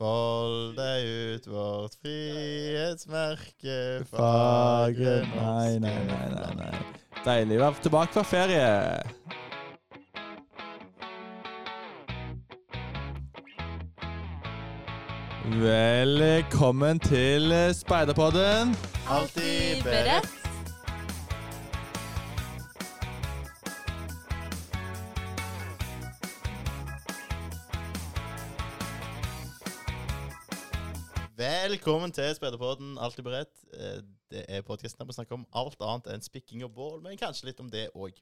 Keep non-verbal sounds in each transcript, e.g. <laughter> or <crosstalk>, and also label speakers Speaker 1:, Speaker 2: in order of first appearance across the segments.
Speaker 1: Fold deg ut vårt frihetsmerke, fagre
Speaker 2: Nei, nei, nei, nei, nei. Deilig å være tilbake fra ferie. Velkommen til eh, Speiderpodden.
Speaker 1: Alltid beredt. Velkommen til Spederpodden, alltid beredt. Eh, Det er podkasten der vi snakker om alt annet enn spikking og bål, men kanskje litt om det òg.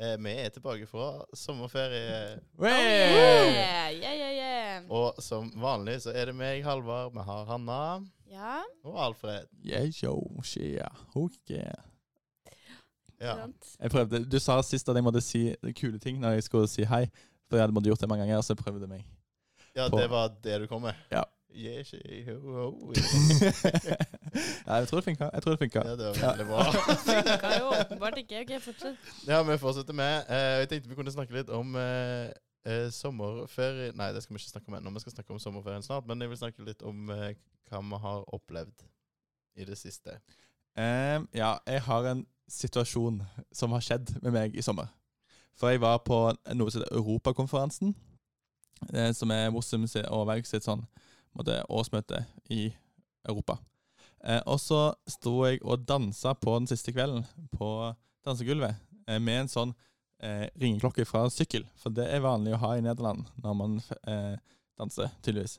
Speaker 1: Vi er tilbake fra sommerferie,
Speaker 2: Wey!
Speaker 3: Yeah, yeah, yeah, yeah.
Speaker 1: og som vanlig så er det meg, Halvard, vi har Hanna
Speaker 3: Ja,
Speaker 1: og Alfred.
Speaker 2: Yeah, yo, shea, okay.
Speaker 1: Ja.
Speaker 3: sant.
Speaker 2: Jeg prøvde, Du sa sist at jeg måtte si kule ting når jeg skulle si hei. For jeg hadde måttet gjort det mange ganger, så jeg prøvde meg. <laughs>
Speaker 1: Ja,
Speaker 2: på-
Speaker 1: det var det du kom med?
Speaker 2: Ja.
Speaker 1: Yeah, she, ho,
Speaker 2: <laughs>
Speaker 1: ho.
Speaker 2: ja, jeg tror det funka. Jeg tror det funka.
Speaker 1: Ja, det var veldig bra.
Speaker 3: Det kan jo åpenbart ikke. Ok, fortsett.
Speaker 1: Ja, vi fortsetter med eh, Jeg tenkte vi kunne snakke litt om eh, eh, sommerferie Nei, det skal vi ikke snakke om ennå. Vi skal snakke om sommerferien snart, men jeg vil snakke litt om eh, hva vi har opplevd i det siste.
Speaker 2: Ehm, ja, jeg har en situasjon som har skjedd med meg i sommer. For jeg var på noe som heter Europakonferansen, eh, som er Mossems og Verk sitt sånn, på en måte, årsmøte i Europa. Eh, og så sto jeg og dansa på den siste kvelden på dansegulvet eh, med en sånn eh, ringeklokke fra sykkel, for det er vanlig å ha i Nederland når man eh, danser, tydeligvis.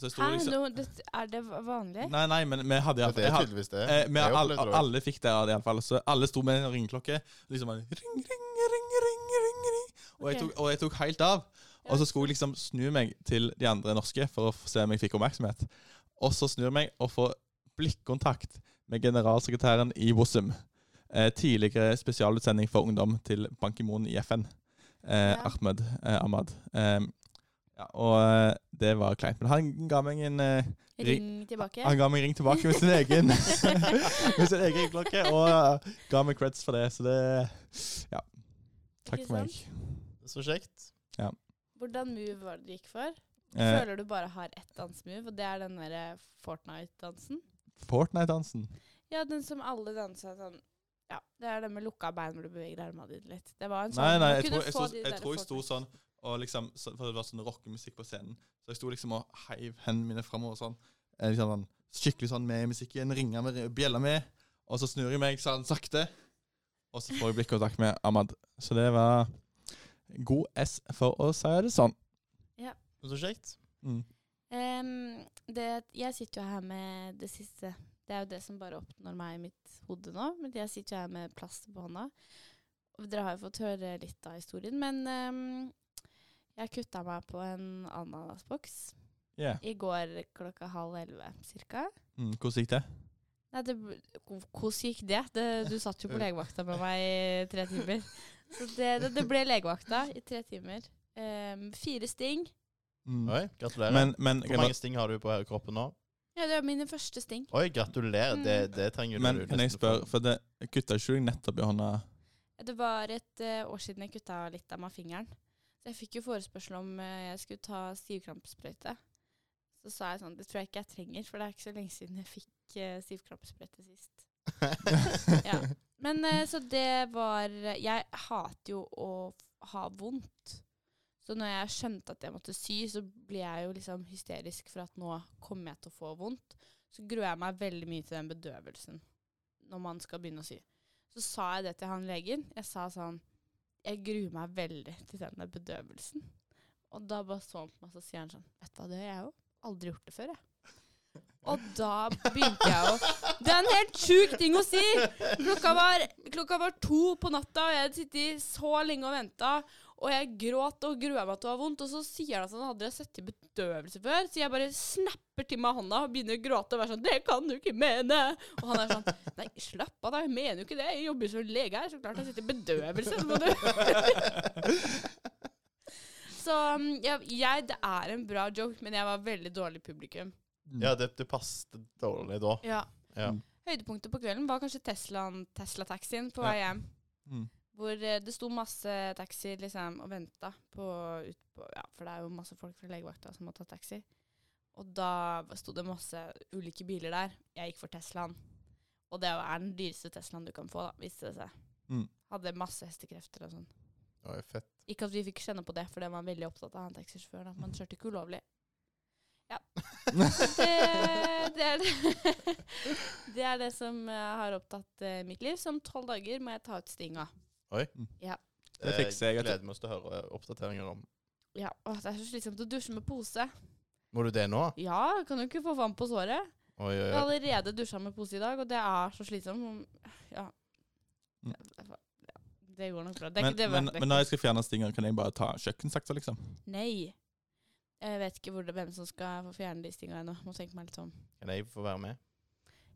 Speaker 2: Så jeg sto
Speaker 3: Hæ,
Speaker 2: liksom-
Speaker 3: nå, det, er det vanlig?
Speaker 2: Nei, nei, men vi hadde
Speaker 1: Men
Speaker 2: iallfall
Speaker 1: det er tydeligvis det.
Speaker 2: Eh, men
Speaker 1: Jeg
Speaker 2: alle,
Speaker 1: opplevde det også.
Speaker 2: alle fikk det iallfall. Så alle sto med en ringeklokke. Liksom bare, ring, ring, ring, ring, ring, ring. Og, jeg
Speaker 3: Ok.
Speaker 2: tok, og jeg tok helt av. Og så skulle jeg liksom snu meg til de andre norske for å f- se om jeg fikk oppmerksomhet. Og så snur jeg meg og får blikkontakt med generalsekretæren i WOSUM. Eh, tidligere spesialutsending for ungdom til Ban Ki-moon i FN. Eh,
Speaker 3: Ja.
Speaker 2: Ahmed eh, Ahmad. Eh, ja, og eh, det var kleint. Men han ga meg en eh,
Speaker 3: Ring tilbake.
Speaker 2: han ga meg ring tilbake med sin egen
Speaker 3: <laughs>
Speaker 2: Med sin egen klokke og uh, ga meg creds for det. Så det Ja. Takk
Speaker 3: Ikke
Speaker 2: for meg.
Speaker 1: Så kjekt.
Speaker 3: Hvordan move var det du gikk for?
Speaker 2: Eh,
Speaker 3: Føler du bare har ett dansmove, og det er den derre Fortnite-dansen?
Speaker 2: Fortnite-dansen.
Speaker 3: Ja, den som alle dansa sånn Ja, det er den med lukka bein hvor du beveger armene dine litt. Det var en sånn
Speaker 2: Nei, nei,
Speaker 3: man
Speaker 2: jeg
Speaker 3: kunne
Speaker 2: tror jeg,
Speaker 3: få
Speaker 2: sto-
Speaker 3: de
Speaker 2: jeg,
Speaker 3: der
Speaker 2: tror jeg sto
Speaker 3: Fortnite-
Speaker 2: sånn og liksom, så- For det var sånn rockemusikk på scenen. Så jeg sto liksom og heiv hendene mine framover sånn. eh, Liksom sånn skikkelig sånn med i musikken. Ringer med bjella med. Og så snur jeg meg sånn sakte. Og så får jeg blikkontakt med Ahmad. Så det var god S for å si det sånn.
Speaker 1: Så kjekt.
Speaker 2: Mm.
Speaker 3: Ehm, det, jeg sitter jo her med det siste. Det er jo det som bare oppnår meg i mitt hode nå. Men jeg sitter jo her med plaster på hånda. Og dere har jo fått høre litt av historien. Men ehm, jeg kutta meg på en ananasboks
Speaker 2: Yeah.
Speaker 3: i går klokka halv elleve cirka.
Speaker 2: Mm, hvordan gikk det?
Speaker 3: Nei, det, hvordan gikk det? det? Du satt jo på legevakta med meg i tre timer. Så det, det, det ble legevakta i tre timer. Ehm, fire sting.
Speaker 2: Mm.
Speaker 1: Oi, gratulerer.
Speaker 2: Men, men,
Speaker 1: Hvor mange sting har du på kroppen nå?
Speaker 3: Ja, det var mine første sting.
Speaker 1: Oi, gratulerer.
Speaker 3: Mm.
Speaker 1: Det, det trenger du
Speaker 2: men
Speaker 1: nesten
Speaker 2: kan jeg
Speaker 1: få.
Speaker 2: spørre, for det kutta ikke du deg nettopp i hånda?
Speaker 3: Det var et eh, år siden jeg kutta litt av meg fingeren. Så jeg fikk jo forespørsel om eh, jeg skulle ta stivkrampesprøyte. Så sa jeg sånn Det tror jeg ikke jeg trenger, for det er ikke så lenge siden jeg fikk eh, stivkrampesprøyte sist. <laughs> Ja. Men eh, så det var Jeg hater jo å f- ha vondt. Så når jeg skjønte at jeg måtte sy, så ble jeg jo liksom hysterisk for at nå kommer jeg til å få vondt. Så gruer jeg meg veldig mye til den bedøvelsen når man skal begynne å sy. Så sa jeg det til han legen. Jeg sa sånn Jeg gruer meg veldig til denne bedøvelsen. Og da bare så han på meg, så sier han sånn Vet du hva, det har jeg jo aldri gjort det før, jeg. Og da begynte jeg å Det er en helt sjuk ting å si! Klokka var, klokka var to på natta, og jeg hadde sittet så lenge og venta. Og jeg gråt og grua meg til å ha vondt, og så sier han at han hadde sett i bedøvelse før. Så jeg bare snapper til meg hånda og begynner å gråte og være sånn 'Det kan du ikke mene!' Og han er sånn 'Nei, slapp av, da. Jeg mener jo ikke det. Jeg jobber jo som lege her, så klart jeg sitter i bedøvelse.' Så, må du- så mm, jeg, jeg, det er en bra joke, men jeg var veldig dårlig publikum.
Speaker 1: <laughs>
Speaker 2: Mm.
Speaker 1: Ja, det, det passet dårlig da.
Speaker 3: Ja.
Speaker 1: Ja.
Speaker 3: Høydepunktet på kvelden var kanskje Teslaen- Tesla-taxien på vei hjem.
Speaker 2: Mm.
Speaker 3: Hvor eh, det sto masse taxi liksom, og venta på, ut på Ja, for det er jo masse folk fra legevakta som må ta taxi. Og da sto det masse ulike biler der. Jeg gikk for Teslaen. Og det er den dyreste Teslaen du kan få, da, viste det seg.
Speaker 2: Mm.
Speaker 3: Hadde masse hestekrefter og sånn.
Speaker 1: Det var jo fett.
Speaker 3: Ikke at vi fikk kjenne på det, for det var han veldig opptatt av han taxisjåføren. At man kjørte ikke ulovlig. Ja. Det, det, er det. <laughs> det er det som eh, har opptatt eh, mitt liv. Så om tolv dager må jeg ta ut stinga.
Speaker 2: Det fikser jeg.
Speaker 1: gleder meg til å høre oppdateringer om.
Speaker 3: Ja, åh, Det er så slitsomt å dusje med pose.
Speaker 1: Må du det nå?
Speaker 3: Ja, kan jo ikke få vann på såret.
Speaker 1: Oi, oi,
Speaker 3: Jeg har
Speaker 1: oi.
Speaker 3: allerede dusja med pose i dag, og det er så slitsomt. Ja.
Speaker 2: Mm.
Speaker 3: Ja, Det går nok bra. Det er
Speaker 2: Men,
Speaker 3: ikke det
Speaker 2: men,
Speaker 3: det er
Speaker 2: men når jeg skal fjerne stinger, kan jeg bare ta kjøkkensaksa, liksom?
Speaker 3: Nei. Jeg vet ikke hvor det, hvem som skal få fjerne de stinga ennå. Må tenke meg litt om.
Speaker 1: Kan jeg få være med?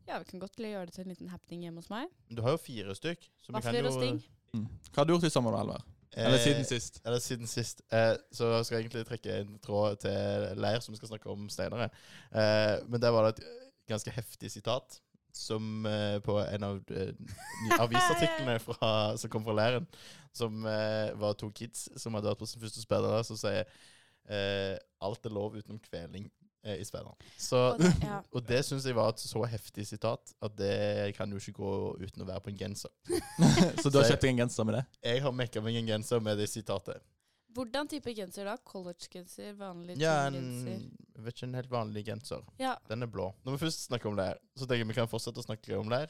Speaker 3: Ja, vi kan godt gjøre det til en liten happening hjemme hos meg.
Speaker 1: Men Du har jo fire stykk. så vi kan
Speaker 3: Vafler og
Speaker 1: jo- eh,
Speaker 3: sting.
Speaker 2: Mm. Hva har du gjort i sommer, da, Alvar? Eller siden sist? <laughs>
Speaker 1: Eller siden sist. Eh, så skal jeg egentlig trekke en tråd til leir, som vi skal snakke om senere. Eh, men der var det et ganske heftig sitat som eh, på en av eh,
Speaker 3: <laughs>
Speaker 1: ny- avisartiklene fra, som kom fra leiren, som eh, var to kids som hadde vært på sin første speiderleir, som sier eh, 'alt er lov utenom kveling' eh, i speideren. Så
Speaker 3: Og <laughs> det- Ja.
Speaker 1: og det syns jeg var et så heftig sitat at det kan jo ikke gå uten å være på en genser.
Speaker 2: <laughs> Så du har kjøpt deg en genser med det?
Speaker 1: Jeg har mekka meg en genser med det sitatet.
Speaker 3: Hvordan type genser da? Collegegenser? Vanlig
Speaker 1: Ja,
Speaker 3: jeansgenser?
Speaker 1: en, jeg vet ikke, en helt vanlig genser.
Speaker 3: Ja.
Speaker 1: Den er blå. Når vi først snakker om leir, så tenker jeg vi kan fortsette å snakke om leir.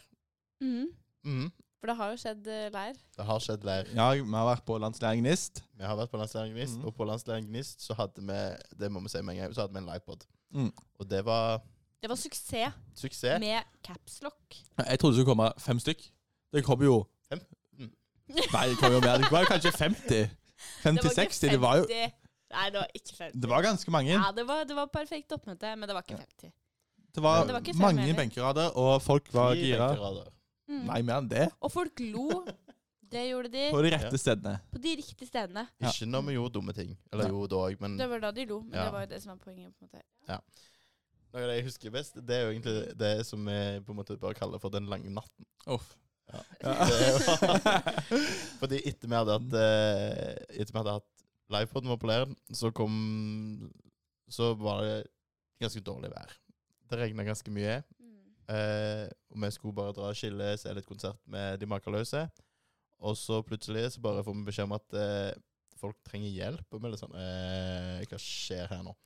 Speaker 3: Mhm.
Speaker 2: Mm.
Speaker 1: Mhm.
Speaker 3: For det har jo skjedd eh, leir.
Speaker 1: Det har skjedd leir.
Speaker 2: Ja, vi har vært på landslæring Nist.
Speaker 1: Vi har vært på Landsleiren Gnist,
Speaker 2: Mhm.
Speaker 1: og på Landsleiren Gnist så hadde vi det må vi si med en gang, så hadde vi en livepod.
Speaker 2: Mm.
Speaker 1: Og det var
Speaker 3: Det var suksess
Speaker 1: suksess.
Speaker 3: med capslock.
Speaker 2: Jeg trodde det skulle komme fem stykk. Det kom jo
Speaker 1: Fem? Mm.
Speaker 3: <laughs>
Speaker 2: Nei, det kom jo mer. Det var jo kanskje 50. 50-60. Det, var jo
Speaker 3: Nei, det var ikke 50.
Speaker 2: Det var ganske mange.
Speaker 3: ja, det var, det var perfekt oppmøte, men det var ikke 50.
Speaker 2: Det var,
Speaker 1: Men det var
Speaker 3: ikke fem
Speaker 2: mange
Speaker 3: heller.
Speaker 2: benkerader, og folk var
Speaker 1: Tre
Speaker 2: gira.
Speaker 1: benkerader.
Speaker 3: Mm.
Speaker 2: Nei, mer enn det.
Speaker 3: Og folk lo. Det gjorde
Speaker 2: På
Speaker 3: de
Speaker 2: de rette stedene.
Speaker 3: på de riktige stedene.
Speaker 2: Ja.
Speaker 1: Ikke når vi gjorde dumme ting. Eller
Speaker 2: Nei.
Speaker 1: jo, da òg, men
Speaker 3: Det var da de lo, men
Speaker 1: Mm. Ja.
Speaker 3: det var jo det som var poenget. på en måte.
Speaker 1: noe av det jeg husker best, det er jo egentlig det som vi på en måte bare kaller for den lange natten.
Speaker 2: Uff.
Speaker 1: Ja.
Speaker 2: Ja.
Speaker 1: Det
Speaker 2: <laughs>
Speaker 1: Fordi etter vi hadde hatt eh, Etter vi hadde hatt livepoden vår på leiren, så kom Så var det ganske dårlig vær. Det regna ganske mye.
Speaker 3: Mm.
Speaker 1: eh, og vi skulle bare dra og skille, se litt konsert med De makeløse. Og så plutselig så bare får vi beskjed om at eh, folk trenger hjelp. Og vi er litt sånn eh, Hva skjer her nå?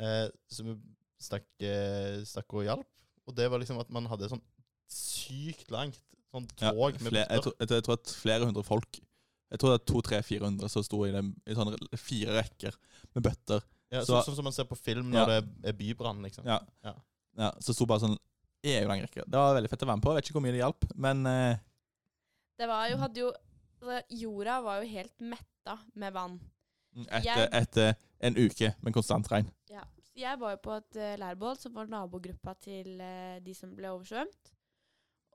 Speaker 1: Eh, så vi stakk, eh, stakk og hjalp. Og det var liksom at man hadde sånn sykt langt sånn
Speaker 2: Ja,
Speaker 1: tog med
Speaker 2: fle- jeg,
Speaker 1: busser.
Speaker 2: tror, jeg, tror- jeg tror at flere hundre folk Jeg tror det er to-tre-fire hundre som sto i, dem, i sånne fire rekker med bøtter.
Speaker 1: Ja,
Speaker 2: Så-
Speaker 1: så, sånn som man ser på film
Speaker 2: Ja.
Speaker 1: når det er bybrann, liksom.
Speaker 2: Ja.
Speaker 1: Ja.
Speaker 2: ja så sto bare sånn evig lang rekke. Det var veldig fett å være med på. Jeg vet ikke hvor mye det hjalp, men eh,
Speaker 3: Det var jo, hadde jo altså, Jorda var jo helt metta med vann.
Speaker 2: mm, etter, etter en uke med konstant regn
Speaker 3: Ja. Så jeg var jo på et uh, leirbål som var nabogruppa til eh, de som ble oversvømt.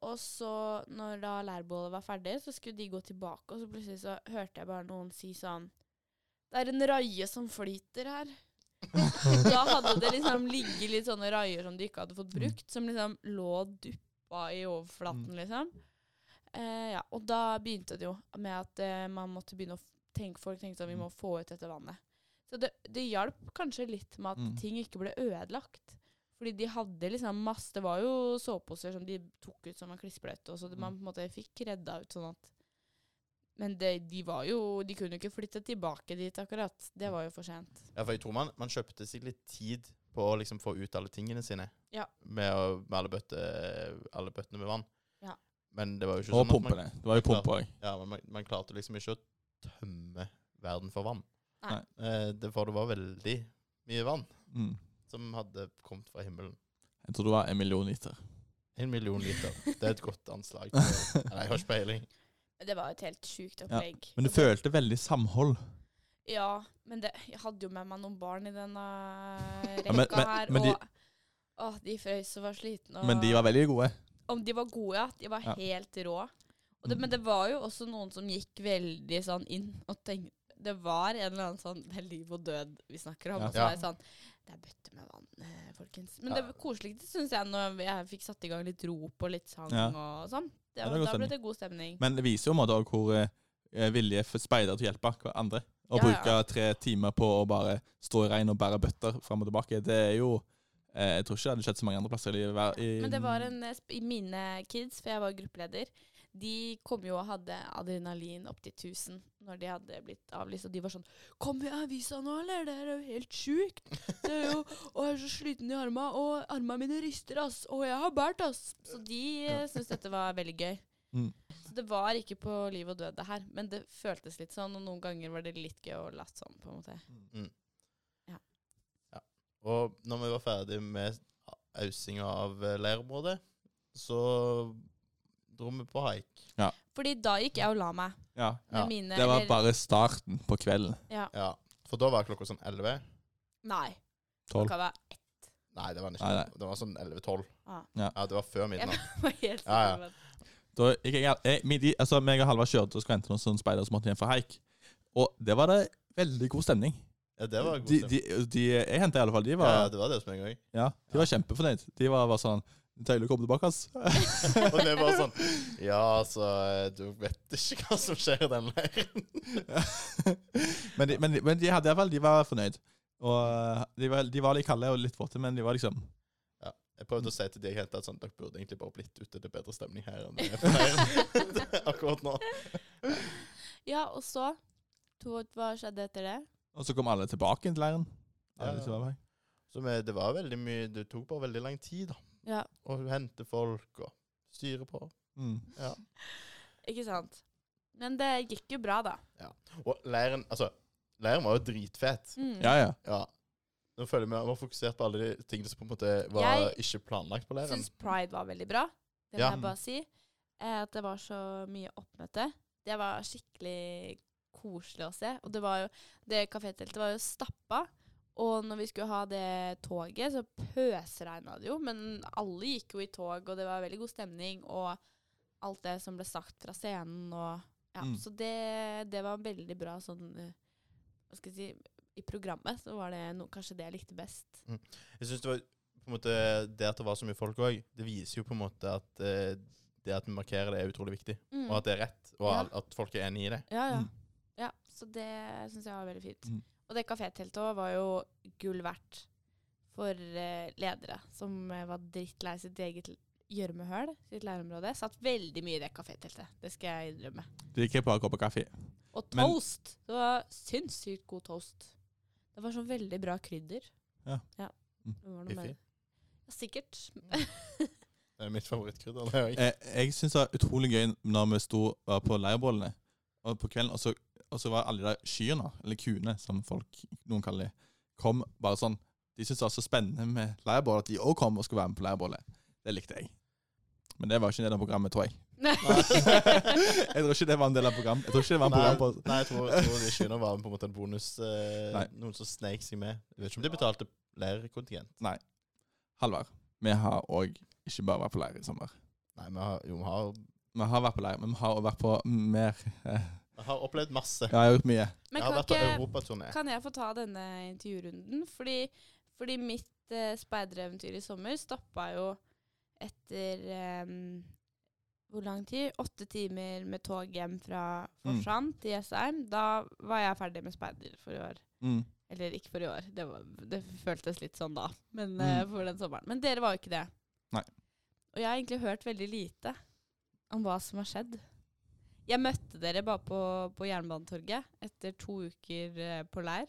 Speaker 3: Og så, når da leirbålet var ferdig, så skulle de gå tilbake, og så plutselig så hørte jeg bare noen si sånn Det er en raie som flyter her. da hadde det liksom ligget litt sånne raier som de ikke hadde fått brukt, som liksom lå og duppa i overflaten, liksom. Eh, ja, og da begynte det jo med at eh, man måtte begynne å f- tenke, folk tenkte at vi
Speaker 2: Mm.
Speaker 3: må få ut dette vannet. Så det, det hjalp kanskje litt med at
Speaker 2: Mm.
Speaker 3: ting ikke ble ødelagt. Fordi de hadde liksom masse Det var jo soveposer som de tok ut som var klissbløte, og så
Speaker 2: Mm.
Speaker 3: det, man på en måte fikk redda ut sånn at Men det, de var jo De kunne jo ikke flytte tilbake dit, akkurat. Det var jo for sent.
Speaker 1: Ja, for jeg tror man, man kjøpte seg litt tid på å liksom få ut alle tingene sine.
Speaker 3: Ja.
Speaker 1: Med, å, med alle, bøtte, alle bøttene med vann.
Speaker 3: Ja.
Speaker 1: Men det var jo ikke
Speaker 2: og
Speaker 1: sånn at man,
Speaker 2: pumpene. Det var jo pumper òg.
Speaker 1: ja, men man, man klarte liksom ikke å tømme verden for vann.
Speaker 3: Nei.
Speaker 1: Eh, det, for det var veldig mye vann
Speaker 2: Mm.
Speaker 1: som hadde kommet fra himmelen.
Speaker 2: Jeg tror det var en million liter. <laughs>
Speaker 1: En million liter. Det er et godt anslag. Nei, jeg har ikke peiling.
Speaker 3: Det var et helt sjukt opplegg.
Speaker 2: Men du følte veldig samhold.
Speaker 3: Ja, men det, jeg hadde jo med meg noen barn i denne rekka
Speaker 2: Ja, men- men-
Speaker 3: her.
Speaker 2: men de-
Speaker 3: og å, de frøs og var slitne. Og,
Speaker 2: Men de var veldig gode.
Speaker 3: Om de var gode, ja. De var
Speaker 2: Ja.
Speaker 3: helt rå. Og det,
Speaker 2: Mm.
Speaker 3: men det var jo også noen som gikk veldig sånn inn og tenkte Det var en eller annen sånn Det er liv og død vi snakker om.
Speaker 2: Ja.
Speaker 3: Og så
Speaker 1: Ja.
Speaker 3: var jeg sånn Det er bøtte med vann, eh, folkens. Men
Speaker 1: Ja.
Speaker 3: det koseligste syns jeg når jeg fikk satt i gang litt rop og litt sang
Speaker 2: Ja.
Speaker 3: og sånn. Det,
Speaker 2: Ja, det var
Speaker 3: da
Speaker 2: god
Speaker 3: ble det god stemning.
Speaker 2: Men det viser jo en måte også hvor eh, vilje for speidere til å hjelpe hverandre. Å
Speaker 3: Ja, ja.
Speaker 2: bruke tre timer på å bare stå i regn og bære bøtter fram og tilbake, det er jo Eh, jeg tror ikke det hadde skjedd så mange andre plasser i livet. I,
Speaker 3: Men det var en eh, sp- i mine kids, for jeg var gruppeleder. De kom jo og hadde adrenalin opp til 1000 når de hadde blitt avlyst. Og de var sånn 'Kom i avisa nå, eller? Det er jo helt sjukt.' Det er jo, 'Og jeg er så sliten i arma, og arma mine rister, ass. Og jeg har bært, ass.' Så de eh, syntes dette var veldig gøy.
Speaker 2: Mm.
Speaker 3: Så det var ikke på liv og død, det her. Men det føltes litt sånn, og noen ganger var det litt gøy å late som, på en måte.
Speaker 1: Og når vi var ferdig med ausinga av eh, leirområdet, så dro vi på haik.
Speaker 3: Fordi da gikk jeg og la meg.
Speaker 2: Ja.
Speaker 3: Med
Speaker 1: Ja,
Speaker 3: mine
Speaker 2: Det var
Speaker 3: eller-
Speaker 2: bare starten på kvelden.
Speaker 1: Ja. For da var klokka sånn 11.
Speaker 3: Nei.
Speaker 2: Tolv.
Speaker 3: klokka var ett.
Speaker 1: Nei, det var den ikke.
Speaker 2: Nei, nei.
Speaker 1: Det var sånn 11-12.
Speaker 3: <laughs> Ah.
Speaker 2: Ja.
Speaker 1: Ja, det var før
Speaker 3: Jeg
Speaker 1: midnatt.
Speaker 3: var helt
Speaker 1: Ja, ja.
Speaker 3: sikker på at-
Speaker 2: Da gikk jeg, jeg, midt i- altså, meg og Halvard kjørte og skulle hente noen sånne speidere som måtte hjem fra haik. Og det var det veldig god stemning.
Speaker 1: Ja, det var god
Speaker 2: de,
Speaker 1: stemning.
Speaker 2: de, de, jeg hentet i alle fall, de var,
Speaker 1: Ja,
Speaker 2: ja,
Speaker 1: det var det hos meg òg.
Speaker 2: <laughs> de var kjempefornøyd. De var, var sånn, deilig å komme tilbake, ass.
Speaker 1: Og det var sånn Ja, altså, du vet ikke hva som skjer i den leiren.
Speaker 2: <laughs> men, de, men, de, men de hadde i hvert fall, de var fornøyd. Og eh, de var, de var litt kalde og litt våte, men de var liksom,
Speaker 1: Jeg prøvde å si til de jeg hentet at sånn, dere burde egentlig bare blitt ute. Det er bedre stemning her enn det er på leiren
Speaker 3: <laughs>
Speaker 1: <laughs> akkurat
Speaker 2: <laughs>
Speaker 1: nå.
Speaker 3: Ja, og så to, Hva skjedde etter det?
Speaker 2: og så kom alle tilbake til leiren.
Speaker 1: Ja,
Speaker 2: Alle som var på haik.
Speaker 1: Så vi, det var veldig mye Det tok bare veldig lang tid, da.
Speaker 3: Ja,
Speaker 1: Å hente folk og styre på.
Speaker 2: Mm.
Speaker 3: Ikke sant? Men det gikk jo bra, da.
Speaker 1: Og leiren Altså, leiren var jo dritfet.
Speaker 3: Mm.
Speaker 2: Ja, ja.
Speaker 1: Ja. Nå føler jeg vi var fokusert på alle de tingene som på en måte var
Speaker 3: Jeg
Speaker 1: ikke planlagt på
Speaker 3: Jeg
Speaker 1: leiren.
Speaker 3: syns pride var veldig bra. Det må
Speaker 1: Ja.
Speaker 3: jeg bare si. Eh, At det var så mye oppmøte. Det var skikkelig koselig å se. Og det var jo Det kafételtet var jo stappa. Og når vi skulle ha det toget, så pøsregna det jo. Men alle gikk jo i tog, og det var veldig god stemning. Og alt det som ble sagt fra scenen og Ja.
Speaker 2: Mm.
Speaker 3: Så det, det var veldig bra sånn eh, Hva skal jeg si I programmet så var det no, kanskje det jeg likte best.
Speaker 1: Jeg synes det var på en måte Det at det var så mye folk òg, det viser jo på en måte at eh, det at vi markerer det, er utrolig viktig.
Speaker 3: Mm.
Speaker 1: Og at det er rett, og
Speaker 3: Ja.
Speaker 1: al- at folk er enig i det.
Speaker 3: Ja, ja.
Speaker 2: Mm.
Speaker 3: ja så det syns jeg var veldig fint.
Speaker 2: Mm.
Speaker 3: Og det kafételtet òg var jo gull verdt for eh, ledere som eh, var drittlei sitt eget l- gjørmehøl, sitt leirområde. Satt veldig mye i det kafételtet, det skal jeg innrømme.
Speaker 2: De gikk på en kopp av kaffe.
Speaker 3: Og
Speaker 2: Men-
Speaker 3: toast! det var sinnssykt god toast. Det var sånn veldig bra krydder.
Speaker 2: Ja. Mm.
Speaker 3: Det var noe
Speaker 1: Biffy.
Speaker 3: med det. Ja, sikkert. <laughs>
Speaker 1: Det er mitt favorittkrydder. det er jo-
Speaker 2: Jeg, jeg syns det var utrolig gøy når vi sto var på leirbålene og på kvelden, og så, og så var alle de der kyrne, eller kuene, som folk noen kaller de, kom bare sånn De syntes det var så spennende med leirbål at de òg kom og skulle være med på leirbålet. Det likte jeg. Men det var ikke en del av programmet, tror jeg. jeg tror ikke det var en del av programmet. Jeg tror ikke det var en
Speaker 1: Nei,
Speaker 2: program på
Speaker 1: nei, jeg tror, jeg tror de skynder var med på en måte en bonus. eh,
Speaker 2: Nei.
Speaker 1: noen som sneik seg med. Jeg vet ikke om de betalte leirkontingent.
Speaker 2: Halvard, vi har òg ikke bare vært på leir i sommer.
Speaker 1: Nei, vi har, jo, vi har,
Speaker 2: Vi har vært på leir, men vi har også vært på mer. Eh,
Speaker 1: vi har opplevd masse.
Speaker 2: Ja, jeg har gjort mye.
Speaker 1: Jeg
Speaker 3: Men
Speaker 1: har
Speaker 3: kan
Speaker 1: vært på
Speaker 3: ikke-
Speaker 1: europaturné.
Speaker 3: Kan jeg få ta denne intervjurunden? Fordi, fordi mitt eh, speidereventyr i sommer stoppa jo etter em, Hvor lang tid? Åtte timer med tog hjem fra Forsand til Jessheim. Da var jeg ferdig med speider for i år.
Speaker 2: Mm.
Speaker 3: Eller ikke for i år, det, var, det føltes litt sånn da. Men eh, for den sommeren. Men dere var jo ikke det.
Speaker 2: Nei.
Speaker 3: Og jeg har egentlig hørt veldig lite om hva som har skjedd. Jeg møtte dere bare på, på Jernbanetorget etter to uker eh, på leir.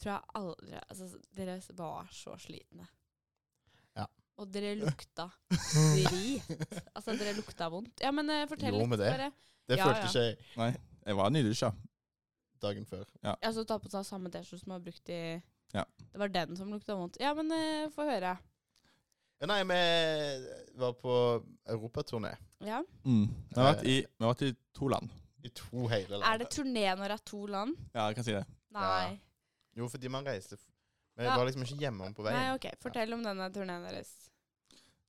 Speaker 3: Tror jeg aldri Altså, dere var så slitne.
Speaker 1: Ja.
Speaker 3: Og dere lukta drit. altså, dere lukta vondt. Ja, men eh, fortell
Speaker 1: Jo,
Speaker 3: litt,
Speaker 1: med det.
Speaker 3: bare.
Speaker 1: Det
Speaker 3: Ja,
Speaker 1: følte
Speaker 3: ja.
Speaker 1: ikke jeg
Speaker 2: Nei, jeg var nydusja.
Speaker 1: dagen før.
Speaker 3: Altså ta på seg samme T-skjorte som du har brukt i
Speaker 2: Ja.
Speaker 3: Det var den som lukta vondt. Ja, men eh, få høre.
Speaker 1: Ja, Nei, vi var på europaturné
Speaker 3: Ja.
Speaker 2: Mm. Vi har vært i, vi har vært i to land.
Speaker 1: i to hele land.
Speaker 3: Er det turné når det er to land?
Speaker 2: Ja, jeg kan si det.
Speaker 3: Nei.
Speaker 1: Jo, fordi man reiste f- Men
Speaker 3: Ja.
Speaker 1: jeg var liksom ikke hjemme om på
Speaker 3: Nei,
Speaker 1: <laughs> veien.
Speaker 3: ok. Fortell om denne turneen deres.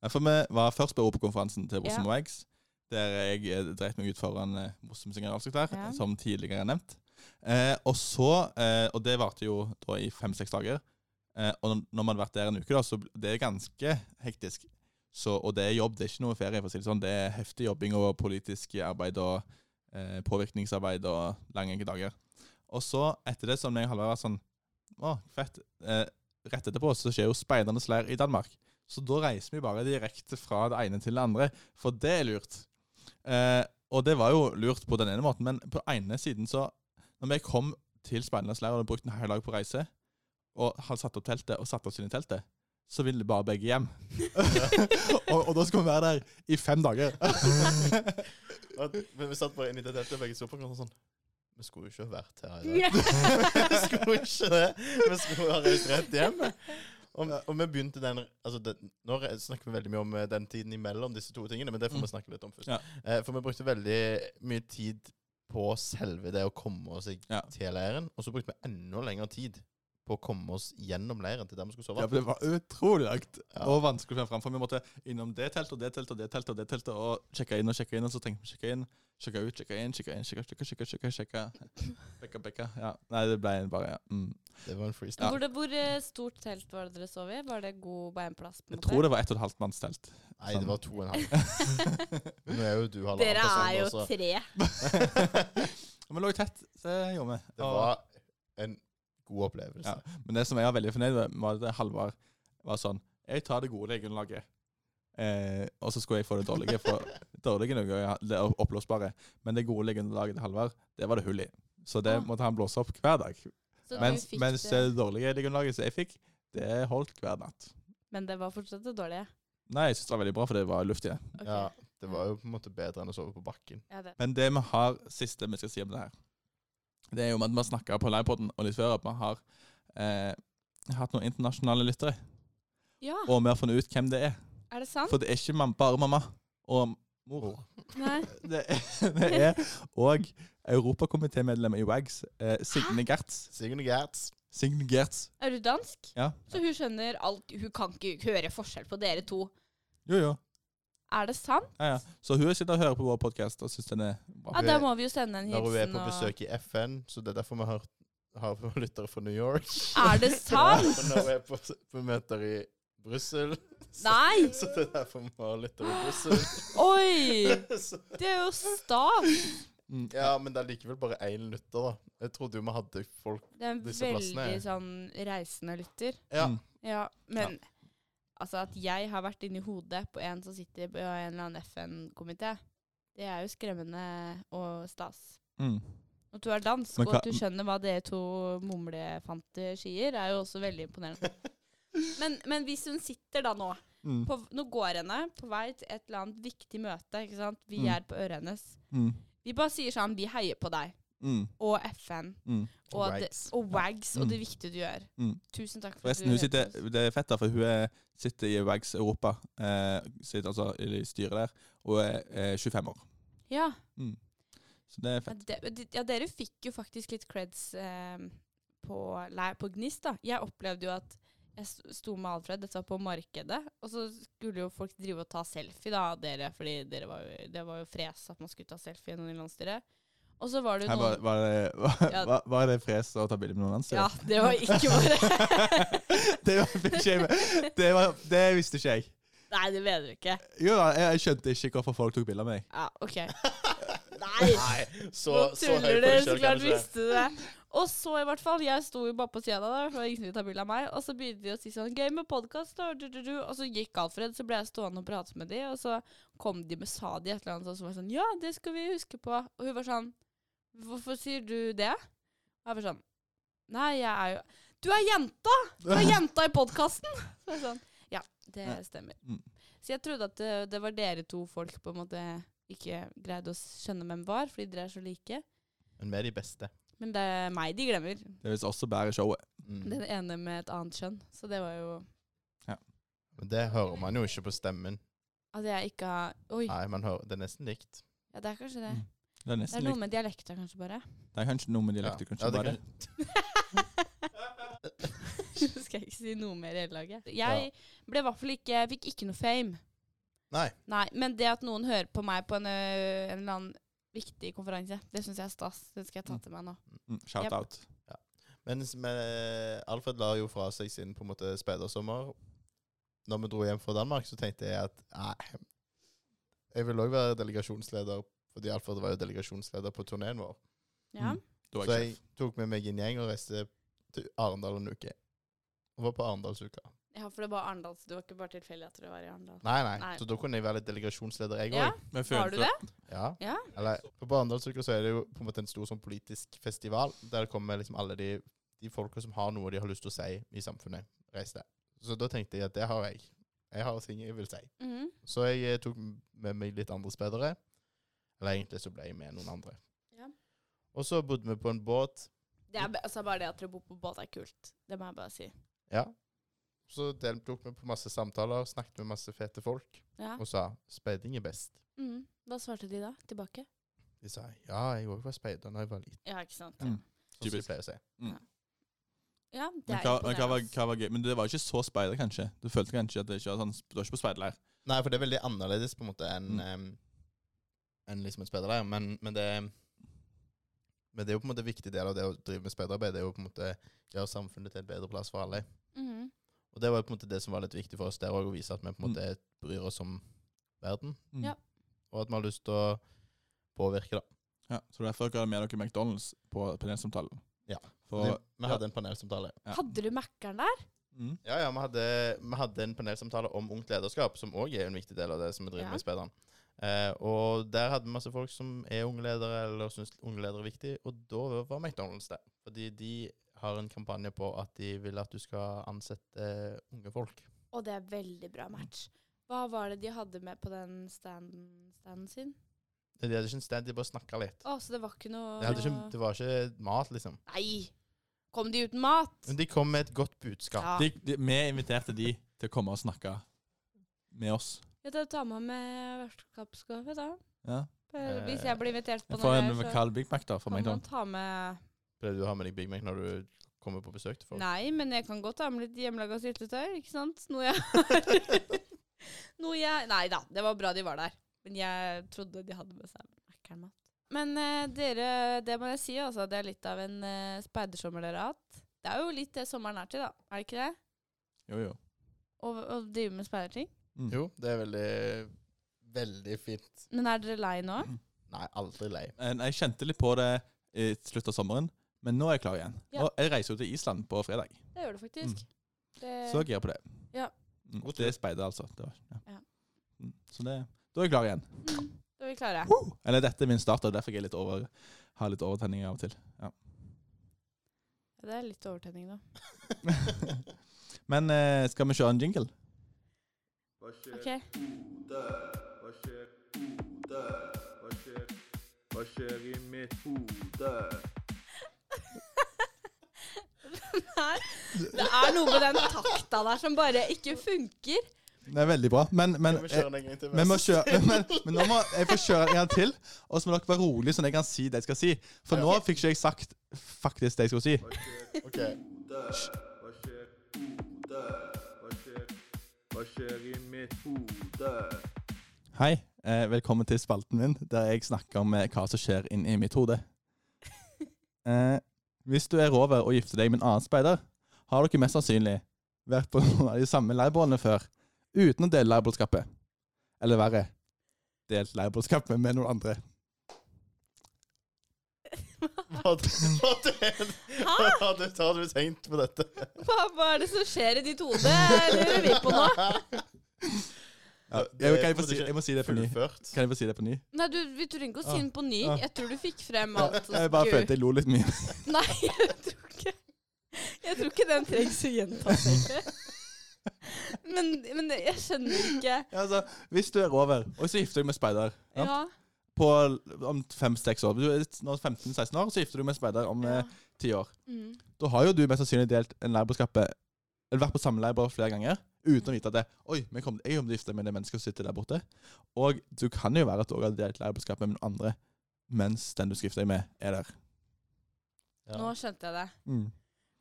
Speaker 2: Ja, For vi var først på Europakonferansen til Bossum
Speaker 3: Ja.
Speaker 2: og Eggs, der jeg eh, dreit meg ut foran eh, Bossum sin generalsekretær,
Speaker 3: Ja.
Speaker 2: som tidligere nevnt. Eh, og så, eh, og det varte jo da i fem-seks dager, eh, og når- når man hadde vært der en uke, da, så bl- det er ganske hektisk. Så, og det er jobb, det er ikke noe ferie, for å si det sånn. Det er heftig jobbing og politisk arbeid og eh, påvirkningsarbeid og lange dager. Og så, etter det, som jeg har vært sånn Å, fett. Eh, rett etterpå så skjer jo speidernes leir i Danmark. Så da reiser vi bare direkte fra det ene til det andre, for det er lurt. Eh, og det var jo lurt på den ene måten, men på den ene siden så Når vi kom til speidernes leir og hadde brukt en hel dag på reise, og hadde satt opp teltet og satt oss inn i teltet, så ville bare begge hjem. og, og da skulle vi være der i fem dager.
Speaker 1: Og- Men vi satt bare inne i det teltet, begge så på hverandre sånn Vi skulle jo ikke ha vært her i
Speaker 3: <laughs>
Speaker 1: dag. Vi <laughs> skulle ikke det. Vi skulle ha reist rett hjem. Og, og vi begynte den, altså den Nå re- snakker vi veldig mye om eh, den tiden imellom disse to tingene, men det får vi snakke litt om først.
Speaker 2: Mm. Ja.
Speaker 1: Eh, For vi brukte veldig mye tid på selve det å komme oss i-
Speaker 2: Ja.
Speaker 1: til leiren, og så brukte vi enda lengre tid på å komme oss gjennom leiren til der vi skulle sove.
Speaker 2: Ja, for det var utrolig langt
Speaker 1: Ja.
Speaker 2: og vanskelig å finne fram. For vi måtte innom det teltet og det teltet og det teltet og det teltet og sjekke inn og sjekke inn. Og så tenkte vi sjekke inn, sjekke ut, sjekke inn, sjekke inn, sjekke, sjekke, sjekke, sjekke, sjekke. Bekka, bekka. Ja. Nei, det ble en bare ja. mm.
Speaker 1: Det var en freestyle.
Speaker 3: Hvor, det- hvor eh, stort telt var det dere sov i? Var det god beinplass?
Speaker 2: Jeg tror det var ett og et halvt manns telt.
Speaker 1: Nei, det var to og en
Speaker 2: <laughs>
Speaker 1: halv. Nå er jo du halvannen
Speaker 3: Dere er
Speaker 1: person,
Speaker 3: jo
Speaker 1: sånn også.
Speaker 3: tre.
Speaker 2: <laughs> Og vi lå tett, så det gjorde vi.
Speaker 1: Det
Speaker 2: Og-
Speaker 1: var en god opplevelse.
Speaker 2: Ja. Men det som jeg var veldig fornøyd med, var at Halvard var sånn Jeg tar det gode grunnlaget, eh, og så skulle jeg få det dårlige.
Speaker 1: <laughs>
Speaker 2: For dårlige noe er det er oppblåsbare, men det gode grunnlaget til Halvard, det var det hull i. Så det
Speaker 3: Ah.
Speaker 2: måtte han blåse opp hver dag.
Speaker 3: Så
Speaker 2: Mens,
Speaker 3: du fikk
Speaker 2: mens
Speaker 3: det.
Speaker 2: det dårlige grunnlaget som jeg fikk, det holdt hver natt.
Speaker 3: Men det var fortsatt det dårlige.
Speaker 2: Nei, jeg syns det var veldig bra, for det var luft i det.
Speaker 3: Ok.
Speaker 1: Ja, det var jo på en måte bedre enn å sove på bakken.
Speaker 3: Ja, det.
Speaker 2: Men det vi har siste vi skal si om det her, det er jo med at vi har snakka på livepoden og litt før at vi har eh, hatt noen internasjonale lyttere,
Speaker 3: ja,
Speaker 2: og vi har funnet ut hvem det er.
Speaker 3: er det sant?
Speaker 2: For det er ikke mam bare mamma og mor.
Speaker 1: Mor.
Speaker 3: Nei.
Speaker 2: <laughs> Det er, det er og europakomitémedlem i WAGS, eh, Signe Gertz.
Speaker 1: Signe Gertz.
Speaker 2: Signe Gertz.
Speaker 3: Er du dansk?
Speaker 2: Ja.
Speaker 3: Så hun skjønner alt Hun kan ikke høre forskjell på dere to.
Speaker 2: Jo, jo.
Speaker 3: Er det sant?
Speaker 2: Ja, ja. Så hun sitter og hører på vår podkast og syns den er bra.
Speaker 3: Ja, Da må vi jo sende en
Speaker 1: Når hun er
Speaker 3: hilsen.
Speaker 1: på
Speaker 3: og-
Speaker 1: besøk i FN, så det er derfor vi har, har lyttere fra New York.
Speaker 3: Er
Speaker 1: <laughs>
Speaker 3: det sant?
Speaker 1: Og når hun er på, på møter i Brussel, <laughs>
Speaker 3: Nei!
Speaker 1: så det er derfor vi har lyttere i Brussel.
Speaker 3: Oi!
Speaker 1: Så-
Speaker 3: Det er jo stas!
Speaker 2: Mm.
Speaker 1: Ja, men det er likevel bare én lytter, da. Jeg trodde jo vi hadde folk
Speaker 3: Det er en
Speaker 1: Disse plassene
Speaker 3: veldig
Speaker 1: er-
Speaker 3: sånn reisende lytter.
Speaker 1: Ja.
Speaker 2: Mm.
Speaker 3: Ja, men altså at jeg har vært inni hodet på en som sitter på en eller annen FN-komité, det er jo skremmende og stas.
Speaker 2: Mm.
Speaker 3: At du er dansk,
Speaker 2: Men
Speaker 3: og at
Speaker 2: hva-
Speaker 3: du skjønner hva dere to mumlefanter sier, er jo også veldig imponerende.
Speaker 2: <laughs>
Speaker 3: Men, men hvis hun sitter da nå
Speaker 2: Mm.
Speaker 3: på, Nå går henne på vei til et eller annet viktig møte. ikke sant? Vi
Speaker 2: Mm.
Speaker 3: er på øret hennes.
Speaker 2: Mm.
Speaker 3: Vi bare sier sånn Vi heier på deg.
Speaker 2: Mm.
Speaker 3: Og FN.
Speaker 2: Mm.
Speaker 3: Og, at-
Speaker 1: Wags.
Speaker 3: og Wags
Speaker 2: Mm.
Speaker 3: og det viktige du gjør.
Speaker 2: Mm.
Speaker 3: Tusen takk for
Speaker 2: Forresten,
Speaker 3: at
Speaker 2: hun
Speaker 3: du
Speaker 2: sitter,
Speaker 3: hørte oss.
Speaker 2: det er fett, da, for hun er, sitter i WAGS Europa, eh, sitter altså i styret der, og er, er 25 år.
Speaker 3: Ja,
Speaker 2: Så det er fett.
Speaker 3: de, de, ja, dere fikk jo faktisk litt creds eh, på, leir, på Gnist, da. Jeg opplevde jo at jeg s- sto med Alfred, dette var på markedet, og så skulle jo folk drive og ta selfie, da, av dere, fordi dere var jo, det var jo fres at man skulle ta selfie gjennom landsstyret. Og så var det jo
Speaker 2: Her var,
Speaker 3: noen
Speaker 2: var, det, var,
Speaker 3: Ja.
Speaker 2: var, var det fres å ta bilde med noen andre?
Speaker 3: Ja, det var ikke våre.
Speaker 2: <laughs> det var, fikk ikke jeg med. Det, var, det visste ikke jeg.
Speaker 3: <laughs> Nei, det mener du ikke.
Speaker 2: Jo da, jeg, jeg skjønte ikke hvorfor folk tok bilder av meg.
Speaker 3: Ja,
Speaker 2: <laughs>
Speaker 3: OK. Nei!
Speaker 1: Nei, så,
Speaker 3: Nå
Speaker 1: så høy
Speaker 3: tuller du, så
Speaker 1: forskjell kan
Speaker 3: klart
Speaker 1: det ikke
Speaker 3: visste du det. Og så i hvert fall, jeg sto jo bare på sida der, for ingen ville ta bilde av meg. Og så begynte de å si sånn 'gøy med podkast', da. Du, du, du. Og så gikk Alfred, så ble jeg stående og prate med de, og så kom de med sa de et eller annet, og så var jeg sånn 'ja, det skal vi huske på'. Og hun var sånn 'hvorfor sier du det?' Og jeg var sånn 'nei, jeg er jo Du er jenta! Du er jenta i podkasten!' Så jeg sånn Ja, det stemmer.
Speaker 2: Mm.
Speaker 3: Så jeg trodde at det, det var dere to folk på en måte ikke greide å skjønne hvem var, fordi dere er så like.
Speaker 1: Men vi er de beste.
Speaker 3: Men det er meg de glemmer.
Speaker 2: Det er visst også bare showet.
Speaker 1: Mm.
Speaker 3: Den ene med et annet kjønn. Så det var jo
Speaker 1: Men det hører man jo ikke på stemmen.
Speaker 3: At jeg ikke har Oi,
Speaker 1: Nei, man hører, det er nesten likt.
Speaker 3: ja, det er kanskje
Speaker 2: Ah.
Speaker 3: det.
Speaker 2: Mm. Det er
Speaker 3: Det er
Speaker 2: nesten
Speaker 3: noe
Speaker 2: likt.
Speaker 3: med dialekta,
Speaker 2: <laughs>
Speaker 3: kanskje, bare.
Speaker 2: Det er kanskje noe med dialekter, kanskje.
Speaker 1: det
Speaker 2: bare.
Speaker 1: kan-
Speaker 3: Skal jeg ikke si noe mer i hele laget. Jeg ble i hvert fall ikke Fikk ikke noe fame.
Speaker 1: Nei.
Speaker 3: Nei, men det at noen hører på meg på en, ø, en eller annen viktig konferanse, det syns jeg er stas. Det skal jeg ta til meg nå.
Speaker 2: Mm, shout
Speaker 3: Yep.
Speaker 2: out.
Speaker 1: Men s- men, eh, Alfred la jo fra seg sin på en måte speidersommer. Når vi dro hjem fra Danmark, så tenkte jeg at nei, jeg vil òg være delegasjonsleder, fordi Alfred var jo delegasjonsleder på turneen vår.
Speaker 3: Ja.
Speaker 2: Mm. Du
Speaker 1: Så
Speaker 2: er ikke
Speaker 1: jeg tok med meg en gjeng og reiste til Arendal en uke. Hun var på Arendalsuka.
Speaker 3: Ja, for det var Arendal, så det var ikke bare tilfeldig at dere var i Arendal.
Speaker 1: Nei, nei,
Speaker 3: Nei.
Speaker 1: Så da kunne jeg være litt delegasjonsleder, jeg òg.
Speaker 3: Ja,
Speaker 2: Men følte-
Speaker 3: har du det?
Speaker 1: Ja.
Speaker 3: Ja.
Speaker 1: Eller, på Barendalsuka så er det jo på en måte en stor sånn politisk festival, der kommer liksom alle de, de folka som har noe de har lyst til å si i samfunnet, reiser der. Så da tenkte jeg at det har jeg. Jeg har ting jeg vil si.
Speaker 3: Mhm.
Speaker 1: Så jeg eh, tok med meg litt andre speidere. Eller egentlig så ble jeg med noen andre.
Speaker 3: Ja.
Speaker 1: Og så bodde vi på en båt.
Speaker 3: Det er ba- altså bare det at dere bor på båt, er kult. Det må jeg bare si.
Speaker 1: Ja. Så deltok vi på masse samtaler, snakket med masse fete folk,
Speaker 3: Ja.
Speaker 1: og sa 'speiding er best'.
Speaker 3: Mhm. Hva svarte de da? Tilbake?
Speaker 1: De sa 'ja, jeg òg var speider da jeg var liten'.
Speaker 3: Ja, ikke sant.
Speaker 2: Mm.
Speaker 1: Sånn som de
Speaker 2: Typisk.
Speaker 1: pleier å si.
Speaker 3: Ja, det
Speaker 2: Men
Speaker 3: er
Speaker 2: hva, men hva, var,
Speaker 3: imponerende.
Speaker 2: hva var gøy? Men det var ikke så speider, kanskje? Du følte kanskje at det ikke var sånn Du var ikke på speiderleir?
Speaker 1: Nei, for det er veldig annerledes på en måte enn
Speaker 2: Mm.
Speaker 1: em, enn liksom et speiderleir. Men, men, det, men det er jo på en måte en viktig del av det å drive med speiderarbeid. Det er jo på en måte gjøre samfunnet til en bedre plass for alle.
Speaker 3: Mhm.
Speaker 1: Og det var jo på en måte det som var litt viktig for oss der òg, å vise at vi på en
Speaker 2: Mm.
Speaker 1: måte bryr oss om verden.
Speaker 2: Mm.
Speaker 3: Ja.
Speaker 1: Og at vi har lyst til å påvirke, da.
Speaker 2: Ja, Så derfor dere hadde med dere McDonald's på panelsamtalen?
Speaker 1: Ja.
Speaker 2: For,
Speaker 1: vi hadde en panelsamtale.
Speaker 2: Ja.
Speaker 3: Hadde du Mækkern der?
Speaker 2: mm,
Speaker 1: Ja, ja, vi hadde, vi hadde en panelsamtale om ungt lederskap, som òg er en viktig del av det som vi driver
Speaker 3: Ja.
Speaker 1: med i Spederen. Eh, og der hadde vi masse folk som er unge ledere, eller syns unge ledere er viktig, og da var McDonald's der. Fordi de har en kampanje på at de vil at du skal ansette eh, unge folk.
Speaker 3: Og det er veldig bra match. Hva var det de hadde med på den standen, standen sin?
Speaker 1: De hadde ikke en stand, de bare snakka litt.
Speaker 3: Å, så det var ikke noe
Speaker 1: De hadde ikke, det var ikke mat, liksom.
Speaker 3: Nei! Kom de uten mat?
Speaker 1: Men de kom med et godt budskap.
Speaker 3: Ja.
Speaker 2: de, de, vi inviterte de til å komme og snakke med oss.
Speaker 3: Vet du, ta med med vertskapsgave, da.
Speaker 2: Ja.
Speaker 3: Eh, Hvis
Speaker 1: Eh,
Speaker 3: jeg blir invitert på
Speaker 2: Jeg får
Speaker 3: noe,
Speaker 2: en
Speaker 3: her, så
Speaker 2: kald Big Mac da, fra
Speaker 3: kan man
Speaker 2: McDonald's.
Speaker 3: ta med
Speaker 1: Pleier du å ha med deg Big Mac når du kommer på besøk til folk?
Speaker 3: Nei, men jeg kan godt ta med litt hjemmelaga syltetøy, ikke sant? Noe jeg har <laughs> Noe jeg Nei da, det var bra de var der. Men jeg trodde de hadde med seg Mækkern-mat. Men eh, dere, det må jeg si, altså. Det er litt av en eh, speidersommer dere har hatt. Det er jo litt det sommeren er til, da. Er det ikke det?
Speaker 2: Jo, jo.
Speaker 3: Å, å drive med speiderting.
Speaker 2: Mm.
Speaker 1: Jo, det er veldig, veldig fint.
Speaker 3: Men er dere lei nå?
Speaker 1: Nei, aldri lei.
Speaker 2: Men Jeg kjente litt på det i slutt av sommeren, men nå er jeg klar igjen.
Speaker 3: Ja.
Speaker 2: Og jeg reiser jo til Island på fredag,
Speaker 3: Det gjør du faktisk. Det,
Speaker 2: så jeg er gira på det.
Speaker 3: Eh, Ja.
Speaker 2: Mm, det er speider, altså. Det var, ja.
Speaker 3: Ja.
Speaker 2: Mm, så det, da er jeg klar igjen.
Speaker 3: mm, da er vi klare.
Speaker 2: Woo! Eller dette er min start, og derfor jeg er litt over, har litt overtenning av og til.
Speaker 3: Ja, Det er litt overtenning nå.
Speaker 2: Men eh, skal vi kjøre en jingle?
Speaker 3: OK. <laughs>
Speaker 4: Hva skjer hode? Hva skjer? Hva skjer i mitt hode?
Speaker 3: Nei, det er noe med den takta der som bare ikke funker.
Speaker 2: Det er veldig bra, men, men
Speaker 1: Skal vi
Speaker 2: eh,
Speaker 1: kjøre den en gang til?
Speaker 2: men, må kjøre, <laughs> men, men, men nå må jeg få kjøre en gang til, og så må dere være rolig sånn at jeg kan si det jeg skal si. For nå fikk ikke jeg sagt faktisk det jeg skulle si.
Speaker 1: Ok.
Speaker 4: Hva skjer hode? Hva skjer? Hva skjer i mitt hode?
Speaker 2: Hei, eh, velkommen til spalten min, der jeg snakker om eh, hva som skjer inni mitt
Speaker 1: <laughs>
Speaker 2: hode. Eh, hvis du er over og gifter deg med en annen speider, har dere mest sannsynlig vært på <laughs> noen av de samme leirbålene før, uten å dele leirbålskapet. Eller verre, delt leirbålskapet med noen andre.
Speaker 1: Har du, har du, har du, har du tenkt på dette?
Speaker 3: Hva, hva er det som skjer i ditt hode? Lurer vi på nå?
Speaker 2: Ja,
Speaker 1: Det-
Speaker 2: jeg, kan jeg,
Speaker 1: må du
Speaker 2: få si,
Speaker 1: ikke
Speaker 2: jeg må si det på ny.
Speaker 1: Fullført.
Speaker 2: Kan jeg få si det på ny?
Speaker 3: Nei, du, Vi trenger ikke å si den på ny. Jeg tror du fikk frem alt. som
Speaker 2: Ah, Jeg bare
Speaker 3: skulle-
Speaker 2: følte jeg lo litt mye.
Speaker 3: Nei, <laughs> jeg tror ikke Jeg tror ikke den trengs å gjentas, egentlig. Men, men jeg skjønner ikke
Speaker 2: Altså, hvis du er over, og så gifter du deg med speider ja,
Speaker 3: Ja.
Speaker 2: på om fem-seks år Du er nå 15-16 år, så gifter du deg med speider om eh,
Speaker 3: ja.
Speaker 2: ti år.
Speaker 3: Mm.
Speaker 2: Da har jo du mest sannsynlig delt en leirbålskappe Eller vært på samme leirbål flere ganger uten å vite at det, Oi, vi kom, jeg kommer til å gifte meg med det mennesket som sitter der borte. Og du kan jo være at du også har delt leirbålskappe med noen andre mens den du skal gifte deg med, er der.
Speaker 3: Nå skjønte jeg det.
Speaker 2: Mm.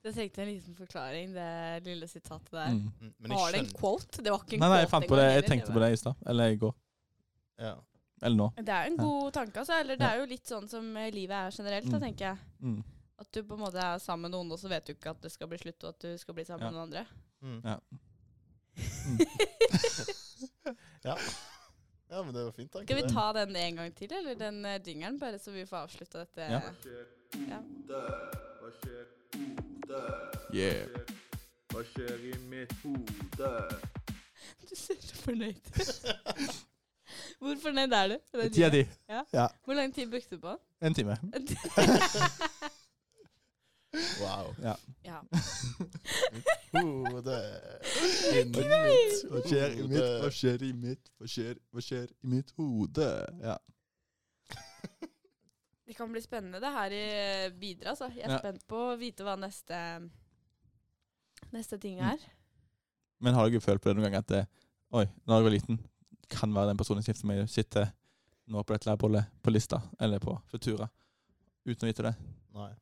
Speaker 3: Det trengte en liten forklaring, det lille sitatet der.
Speaker 2: Mm.
Speaker 1: Mm, Men
Speaker 3: Var
Speaker 1: jeg
Speaker 3: det en
Speaker 1: skjønner.
Speaker 3: quote? Det var ikke en
Speaker 2: Nei, nei,
Speaker 3: quote.
Speaker 2: jeg fant på
Speaker 3: engang
Speaker 2: det.
Speaker 3: heller,
Speaker 2: Jeg tenkte på
Speaker 3: var-
Speaker 2: det i stad. Eller i går.
Speaker 1: Ja.
Speaker 2: Eller nå.
Speaker 3: Det er en god tanke, altså. Eller det
Speaker 2: Ja.
Speaker 3: er jo litt sånn som eh, livet er generelt, da,
Speaker 2: Mm.
Speaker 3: tenker jeg.
Speaker 2: Mm.
Speaker 3: At du på en måte er sammen med noen, og så vet du ikke at det skal bli slutt, og at du skal bli sammen
Speaker 2: Ja.
Speaker 3: med noen andre.
Speaker 1: Mm.
Speaker 2: Ja.
Speaker 1: <laughs> ja. Ja, men det var fint, takk.
Speaker 3: Skal vi ta
Speaker 2: Mm.
Speaker 3: den en gang til, eller den eh, jingeren, bare så vi får avslutta dette?
Speaker 2: Ja.
Speaker 4: Hva skjer
Speaker 3: Ja.
Speaker 4: hode? Hva skjer hode?
Speaker 2: Yeah.
Speaker 4: Hva Hva skjer i mitt hode?
Speaker 3: <laughs> Du ser så fornøyd ut. <laughs> Hvor fornøyd er du? med den
Speaker 2: Ti av
Speaker 3: tiden?
Speaker 2: ti.
Speaker 3: Hvor lang tid brukte du på
Speaker 2: <laughs>
Speaker 3: den?
Speaker 2: En time.
Speaker 1: Wow.
Speaker 3: ja.
Speaker 1: Hode. Inni mitt
Speaker 2: Hva skjer i mitt, hva
Speaker 1: hode.
Speaker 2: skjer i mitt, hva skjer, hva skjer i mitt hode? Ja.
Speaker 3: Det kan bli spennende det her i eh, videre, altså. Jeg er
Speaker 2: Ja.
Speaker 3: spent på å vite hva neste, neste
Speaker 2: Mm.
Speaker 3: ting er.
Speaker 2: Men har dere følt på det noen gang at det, Oi, da jeg var liten, kan være den personen som gifter meg, sitter nå på dette lærbollet på lista, eller på Futura, uten å vite det.
Speaker 1: Nei.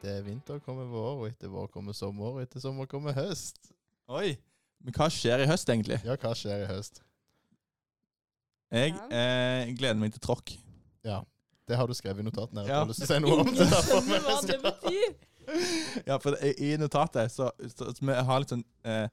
Speaker 1: Etter vinter kommer vår, og etter vår kommer sommer, og etter sommer kommer høst.
Speaker 2: Oi! Men hva skjer i høst, egentlig?
Speaker 1: Ja, hva skjer i høst?
Speaker 2: Jeg
Speaker 3: Ja.
Speaker 2: eh, gleder meg til tråkk.
Speaker 1: Ja, det har du skrevet i notatene. Jeg
Speaker 2: Ja.
Speaker 1: har lyst til å si noe <laughs> om det.
Speaker 3: Ingen
Speaker 1: derfor,
Speaker 3: skjønner
Speaker 1: men
Speaker 3: hva
Speaker 1: jeg
Speaker 3: det
Speaker 1: skal-
Speaker 3: betyr.
Speaker 2: Ja, for det, i notatet så, så, så vi har litt sånn eh,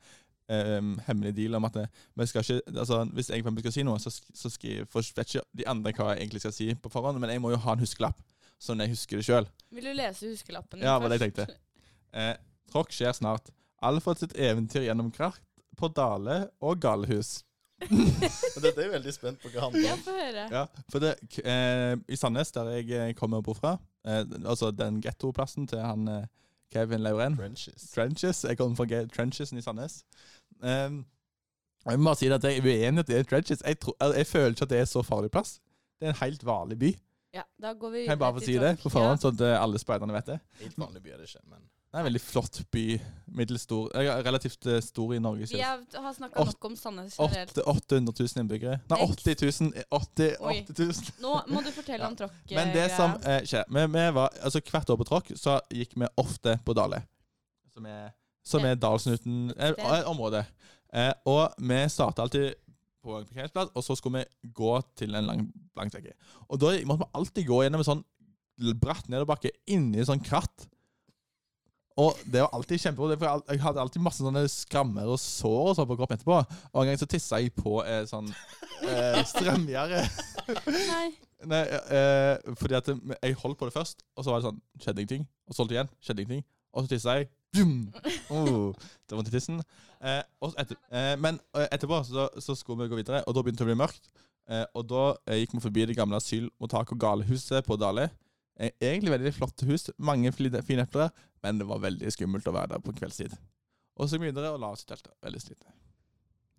Speaker 2: em, hemmelig deal om at det, vi skal ikke, altså, hvis jeg faktisk skal si noe, så, sk- så skriver, for jeg vet ikke de andre hva jeg egentlig skal si på forhånd, men jeg må jo ha en huskelapp, sånn jeg husker det sjøl.
Speaker 3: Vil du lese huskelappen
Speaker 2: Ja, var det jeg tenkte. Eh, tråkk skjer snart. Alfred sitt eventyr gjennom kratt på Dale og Galehus.
Speaker 1: Men Dette er jeg veldig spent på hva handler
Speaker 3: <laughs> Ja,
Speaker 1: om.
Speaker 3: få høre.
Speaker 2: Ja, for det, k- eh, I Sandnes, der jeg eh, kommer bort fra, eh, altså den gettoplassen til han eh, Kevin Lauren
Speaker 1: Trenches.
Speaker 2: Trenches. Jeg kommer fra ge- Trenchesen i Sandnes. Ehm, og jeg må bare si at jeg er uenig i at det er Trenches. Jeg, tror, jeg føler ikke at det er så farlig plass. Det er en helt vanlig by.
Speaker 3: Ja, da går vi
Speaker 2: Kan jeg bare
Speaker 3: rett
Speaker 2: få
Speaker 3: i
Speaker 2: si det
Speaker 3: tråkk.
Speaker 2: på forhånd, sånn at eh, alle speiderne vet det?
Speaker 1: Helt vanlig by er det ikke, men
Speaker 2: Det er en veldig flott by. Middelstor. eh, Relativt eh, stor i Norge.
Speaker 3: Vi
Speaker 2: synes jeg.
Speaker 3: er, har snakka nok om Sandnes generelt.
Speaker 2: Åtte- 800 000 innbyggere. Nei,
Speaker 3: Ek.
Speaker 2: 80 000. 80,
Speaker 3: Oi.
Speaker 2: 80 000.
Speaker 3: Nå må du fortelle
Speaker 2: Ja.
Speaker 3: om tråkk.
Speaker 2: Men det
Speaker 3: eh,
Speaker 2: som
Speaker 3: greia.
Speaker 2: eh, skjer vi, vi var, altså Hvert år på tråkk så gikk vi ofte på Dale, som er, som er Dalsnuten eh, eh, området. Eh, og vi starta alltid på en parkeringsplass, og så skulle vi gå til en lang blanksekke. Og da måtte vi alltid gå gjennom en sånn l- bratt nedoverbakke inni sånn kratt. Og det var alltid kjempebra. For jeg al- jeg hadde alltid masse sånne skrammer og sår og sånn på kroppen etterpå. Og en gang så tissa jeg på eh, sånn eh, strømgjerde.
Speaker 3: Nei.
Speaker 2: Nei, eh, fordi at det- jeg holdt på det først, og så var det sånn Skjedde ingenting. Og så holdt jeg igjen. Skjedde ingenting. Og så tissa jeg. Dum! Oh, det var vondt i tissen. Eh, og så etter, eh, men eh, etterpå så, så skulle vi gå videre, og da begynte det å bli mørkt. Eh, og da eh, gikk vi forbi det gamle asylmottak- og galehuset på Dale. Eh, egentlig veldig flotte hus, mange fli- fine epler, men det var veldig skummelt å være der på kveldstid. Og så gikk vi videre og la oss i teltet. Veldig slitne.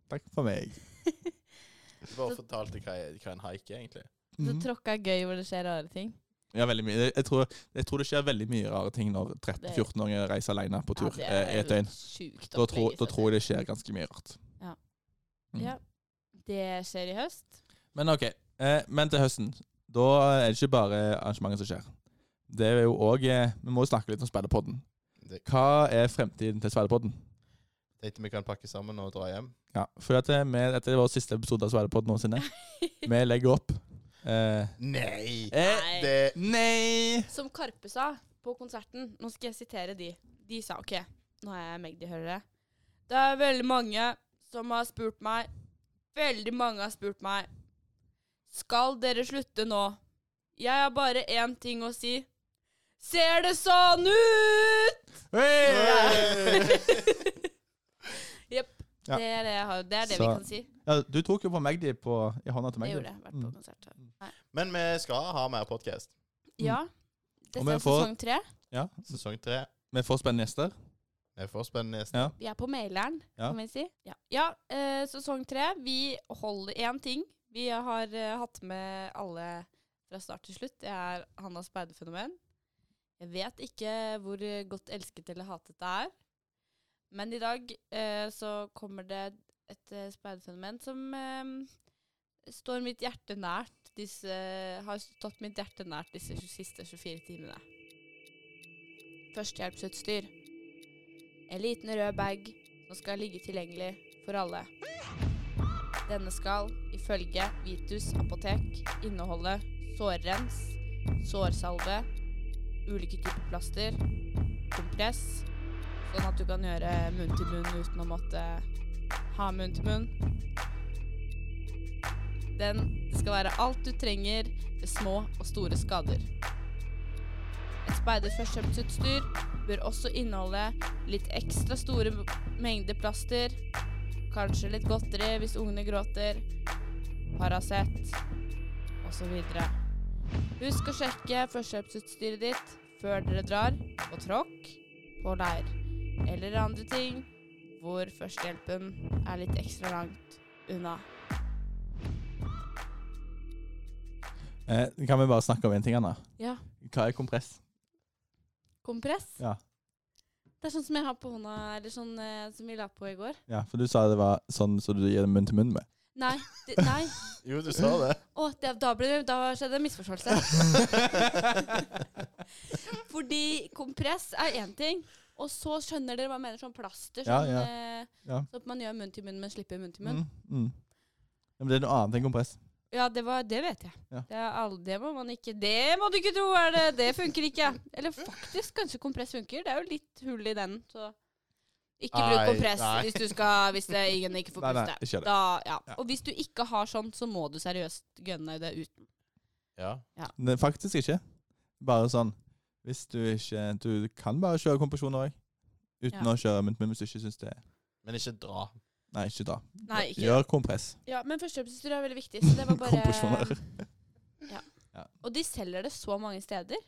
Speaker 2: Takk for meg.
Speaker 1: du bare fortalte hva, jeg- hva en haik er, egentlig.
Speaker 3: Så
Speaker 2: Mhm.
Speaker 3: tråkk er gøy hvor det skjer rare ting.
Speaker 2: Ja, veldig mye. Jeg- Jeg tror, jeg tror det skjer veldig mye rare ting når
Speaker 3: Det-
Speaker 2: 13-14-åringer reiser alene på tur
Speaker 3: Ja, det
Speaker 2: eh, i et døgn.
Speaker 3: Sjukt
Speaker 2: Da, tror-
Speaker 3: opplegg,
Speaker 2: da
Speaker 3: så
Speaker 2: tror jeg det skjer ganske mye rart.
Speaker 3: Ja.
Speaker 2: Mm.
Speaker 3: Ja. Det skjer i høst.
Speaker 2: Men ok, eh, men til høsten. Da er det ikke bare arrangementer som skjer. Det er jo også, eh, Vi må jo snakke litt om Speiderpodden.
Speaker 1: Det-
Speaker 2: Hva er fremtiden til Speiderpodden?
Speaker 1: Tenkte vi kan pakke sammen og dra hjem.
Speaker 2: Ja, for at eh, vi, dette er vår siste episode av Speiderpodden
Speaker 3: <laughs>
Speaker 2: noensinne. Vi legger opp. Eh,
Speaker 1: Nei!
Speaker 2: eh,
Speaker 3: Nei.
Speaker 1: Det
Speaker 2: nei!
Speaker 3: Som Karpe sa på konserten, nå skal jeg sitere de. De sa OK, nå er jeg Magdi-hørere. Det er veldig mange som har spurt meg. Veldig mange har spurt meg. Skal dere slutte nå? Jeg har bare én ting å si. Ser det sånn ut? <laughs>
Speaker 2: Hey!
Speaker 3: Jepp.
Speaker 2: Ja.
Speaker 3: Det er det, jeg har, det, er det vi
Speaker 2: Så-
Speaker 3: kan si.
Speaker 2: Ja, du tok jo på Magdi på, i hånda til
Speaker 3: Det
Speaker 2: Magdi.
Speaker 3: gjorde jeg. Vært på
Speaker 2: Mm.
Speaker 3: konsert.
Speaker 1: Men vi skal ha mer podkast.
Speaker 3: Ja.
Speaker 2: Mm.
Speaker 3: Dette
Speaker 2: vi
Speaker 3: er
Speaker 2: får-
Speaker 3: sesong tre.
Speaker 2: Ja,
Speaker 1: Sesong tre.
Speaker 2: Vi får spennende gjester.
Speaker 1: Vi får spennende gjester.
Speaker 2: Ja.
Speaker 3: Vi er på maileren,
Speaker 2: Ja.
Speaker 3: kan vi si. Ja, ja eh, sesong tre. Vi holder én ting. Vi har eh, hatt med alle fra start til slutt. Det er Hannas speiderfenomen. Jeg vet ikke hvor eh, godt elsket eller hatet det er. Men i dag eh, så kommer det et eh, speiderfenomen som eh, står mitt hjerte nært. Disse, har stått mitt hjerte nært disse siste 24 timene. Førstehjelpsutstyr. En liten rød bag som skal ligge tilgjengelig for alle. Denne skal, ifølge Vitus apotek, inneholde sårrens, sårsalve, ulike typer plaster, kompress, sånn at du kan gjøre munn til munn uten å måtte ha munn til munn. Den det skal være alt du trenger ved små og store skader. Speiders førsthjelpsutstyr bør også inneholde litt ekstra store m- mengder plaster, kanskje litt godteri hvis ungene gråter, Paracet osv. Husk å sjekke førstehjelpsutstyret ditt før dere drar på tråkk, på leir eller andre ting hvor førstehjelpen er litt ekstra langt unna.
Speaker 2: Eh, kan vi bare snakke om én ting, Anna?
Speaker 3: Ja.
Speaker 2: Hva er kompress?
Speaker 3: Kompress?
Speaker 2: Ja.
Speaker 3: Det er sånn som jeg har på hånda, eller sånn eh, som vi la på i går.
Speaker 2: Ja, For du sa det var sånn som du gir det munn til munn med.
Speaker 3: Nei. Det, nei.
Speaker 1: Jo, du sa det.
Speaker 3: Å, det, da, ble, det- da skjedde det en misforståelse.
Speaker 2: <laughs>
Speaker 3: Fordi kompress er én ting, og så skjønner dere hva jeg mener, sånn plaster.
Speaker 2: Ja,
Speaker 3: Sånn,
Speaker 2: ja.
Speaker 3: eh,
Speaker 2: Ja.
Speaker 3: sånn at man gjør munn til munn, men slipper munn til munn.
Speaker 2: Mm, mm. Ja, men det er noe annet enn kompress.
Speaker 3: Ja, det, var, det vet jeg.
Speaker 2: Ja.
Speaker 3: Det, er all, det må man ikke Det må du ikke tro! Er det, det funker ikke. Eller faktisk, kanskje kompress funker. Det er jo litt hull i den, så ikke
Speaker 1: Nei,
Speaker 3: bruk kompress
Speaker 1: nei.
Speaker 3: hvis, du skal, hvis det, ingen ikke får
Speaker 2: Nei, nei,
Speaker 3: puste.
Speaker 2: ikke gjør det.
Speaker 3: Da, ja.
Speaker 2: Ja.
Speaker 3: Og hvis du ikke har sånn, så må du seriøst gønne det ut.
Speaker 1: Ja.
Speaker 2: Nei, faktisk ikke. Bare sånn Hvis du ikke Du kan bare kjøre kompresjoner òg. Uten
Speaker 3: Ja.
Speaker 2: å kjøre munn til munn hvis du ikke syns det er
Speaker 1: Men ikke dra.
Speaker 2: Nei, ikke da.
Speaker 3: Nei, ikke.
Speaker 2: Gjør kompress.
Speaker 3: Ja, men førstehjelpsutstyr er veldig viktig, så
Speaker 2: <laughs>
Speaker 3: det
Speaker 1: <laughs>
Speaker 3: var bare
Speaker 2: Kompresjoner.
Speaker 3: ja.
Speaker 2: Ja.
Speaker 3: Og de selger det så mange steder.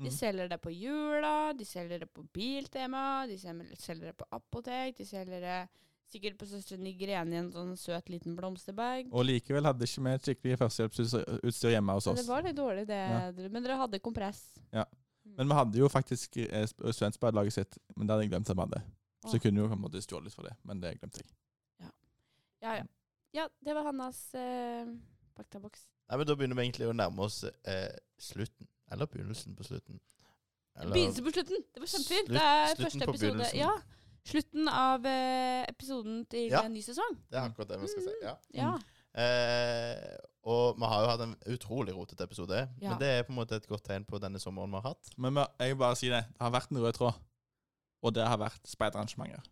Speaker 3: De
Speaker 2: Mm.
Speaker 3: selger det på jula, de selger det på Biltema, de selger selger det på apotek, de selger det sikkert på Søsteren i Grene i en sånn søt liten blomsterbag.
Speaker 2: Og likevel hadde ikke vi et skikkelig førstehjelpsutstyr hjemme hos
Speaker 3: Men
Speaker 2: oss.
Speaker 3: det var litt dårlig, det.
Speaker 2: Ja.
Speaker 3: dere- Men dere hadde kompress.
Speaker 2: Men vi hadde jo faktisk eh, sp- studentspeillaget sitt, men det hadde jeg glemt at vi hadde. Så
Speaker 3: Åh.
Speaker 2: jeg kunne jo på en måte stjålet for det, men det glemte jeg.
Speaker 3: Ja, ja. ja det var Hannas eh, faktaboks.
Speaker 1: Nei, men Da begynner vi egentlig å nærme oss eh, slutten. Eller begynnelsen på slutten. Eller-
Speaker 3: Begynnelse på slutten! Det var kjempefint.
Speaker 1: Slutt-
Speaker 3: Det er
Speaker 1: slutten
Speaker 3: første
Speaker 1: på
Speaker 3: episode.
Speaker 1: begynnelsen.
Speaker 3: Ja. Slutten av eh, episoden til
Speaker 1: Ja. Mm.
Speaker 3: en ny sesong.
Speaker 1: Det er akkurat det vi skal si. ja.
Speaker 3: Ja.
Speaker 1: Eh, og vi har jo hatt en utrolig rotete episode,
Speaker 3: Ja.
Speaker 1: men det er på en måte et godt tegn på denne sommeren vi har hatt.
Speaker 2: Men vi- jeg vil bare si det. Det har vært en rød tråd. Og det har vært speiderarrangementer.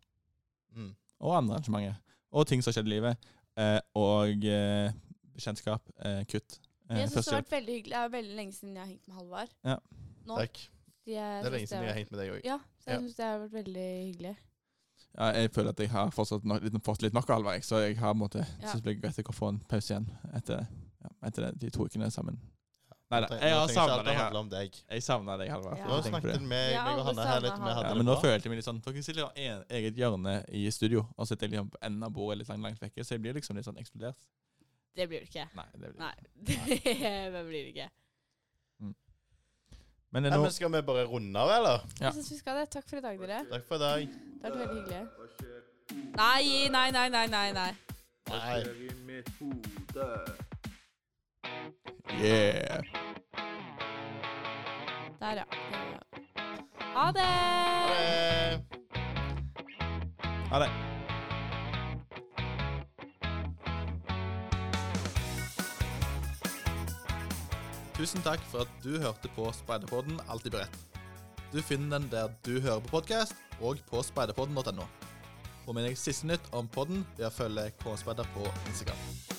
Speaker 1: Mm.
Speaker 2: Og andre arrangementer. Og ting som har skjedd i livet. Eh, og eh, bekjentskap. Eh, kutt. Eh,
Speaker 3: Jeg synes det har
Speaker 2: førstehjelp.
Speaker 3: vært veldig hyggelig. Det er veldig lenge siden jeg har hengt med Halvard.
Speaker 2: Ja.
Speaker 3: Nå,
Speaker 1: Takk.
Speaker 3: de er-
Speaker 1: Det er lenge
Speaker 3: synes det
Speaker 1: siden jeg
Speaker 3: var-
Speaker 1: har hengt med deg òg.
Speaker 3: Ja, så jeg
Speaker 1: Ja.
Speaker 3: synes det har vært veldig hyggelig.
Speaker 2: ja, jeg føler at jeg har fortsatt nok, litt, fått litt nok av Alvar, jeg, så jeg har på en måte,
Speaker 3: Ja.
Speaker 2: synes det blir greit å få en pause igjen etter, ja, etter det, de to ukene sammen. Nei da,
Speaker 1: Nå
Speaker 2: jeg
Speaker 1: trenger
Speaker 2: har
Speaker 1: ikke alt
Speaker 2: savna
Speaker 1: å
Speaker 2: deg.
Speaker 1: handle
Speaker 2: her.
Speaker 1: om deg.
Speaker 2: Jeg savna deg, Halvard.
Speaker 3: Ja.
Speaker 2: for
Speaker 1: Nå
Speaker 2: jeg tenker på
Speaker 1: snakket
Speaker 2: det.
Speaker 1: vi, meg
Speaker 3: Ja,
Speaker 1: og
Speaker 3: alle
Speaker 1: Hanne her
Speaker 3: savna
Speaker 1: litt om vi
Speaker 3: han.
Speaker 1: hadde
Speaker 2: Ja,
Speaker 1: det
Speaker 2: men nå
Speaker 1: bra.
Speaker 2: følte jeg meg litt sånn Dere sitter i en- eget hjørne i studio, og så sitter jeg liksom på enden av bordet litt langt, langt vekke, så jeg blir liksom litt sånn eksplodert.
Speaker 3: Det blir det ikke.
Speaker 2: Nei, det blir
Speaker 3: Nei, <laughs> det blir det ikke.
Speaker 2: Men det er
Speaker 1: Nei,
Speaker 2: noe
Speaker 1: men skal vi bare runde av, eller?
Speaker 2: Ja.
Speaker 3: Jeg synes vi skal det. Takk for i dag, dere.
Speaker 1: Takk for i dag.
Speaker 3: Det har vært veldig hyggelig. Nei, nei, nei, nei, nei. nei.
Speaker 4: Hva
Speaker 1: Nei.
Speaker 4: skjer i mitt hode?
Speaker 2: Yeah!
Speaker 3: Der, ja. Ha det!
Speaker 1: Ha det.
Speaker 2: Ha det. Tusen takk for at du hørte på Speiderpodden Alltid beredt. Du finner den der du hører på podkast, og på speiderpodden.no. Få med deg siste nytt om podden ved å følge K-speider på Instagram.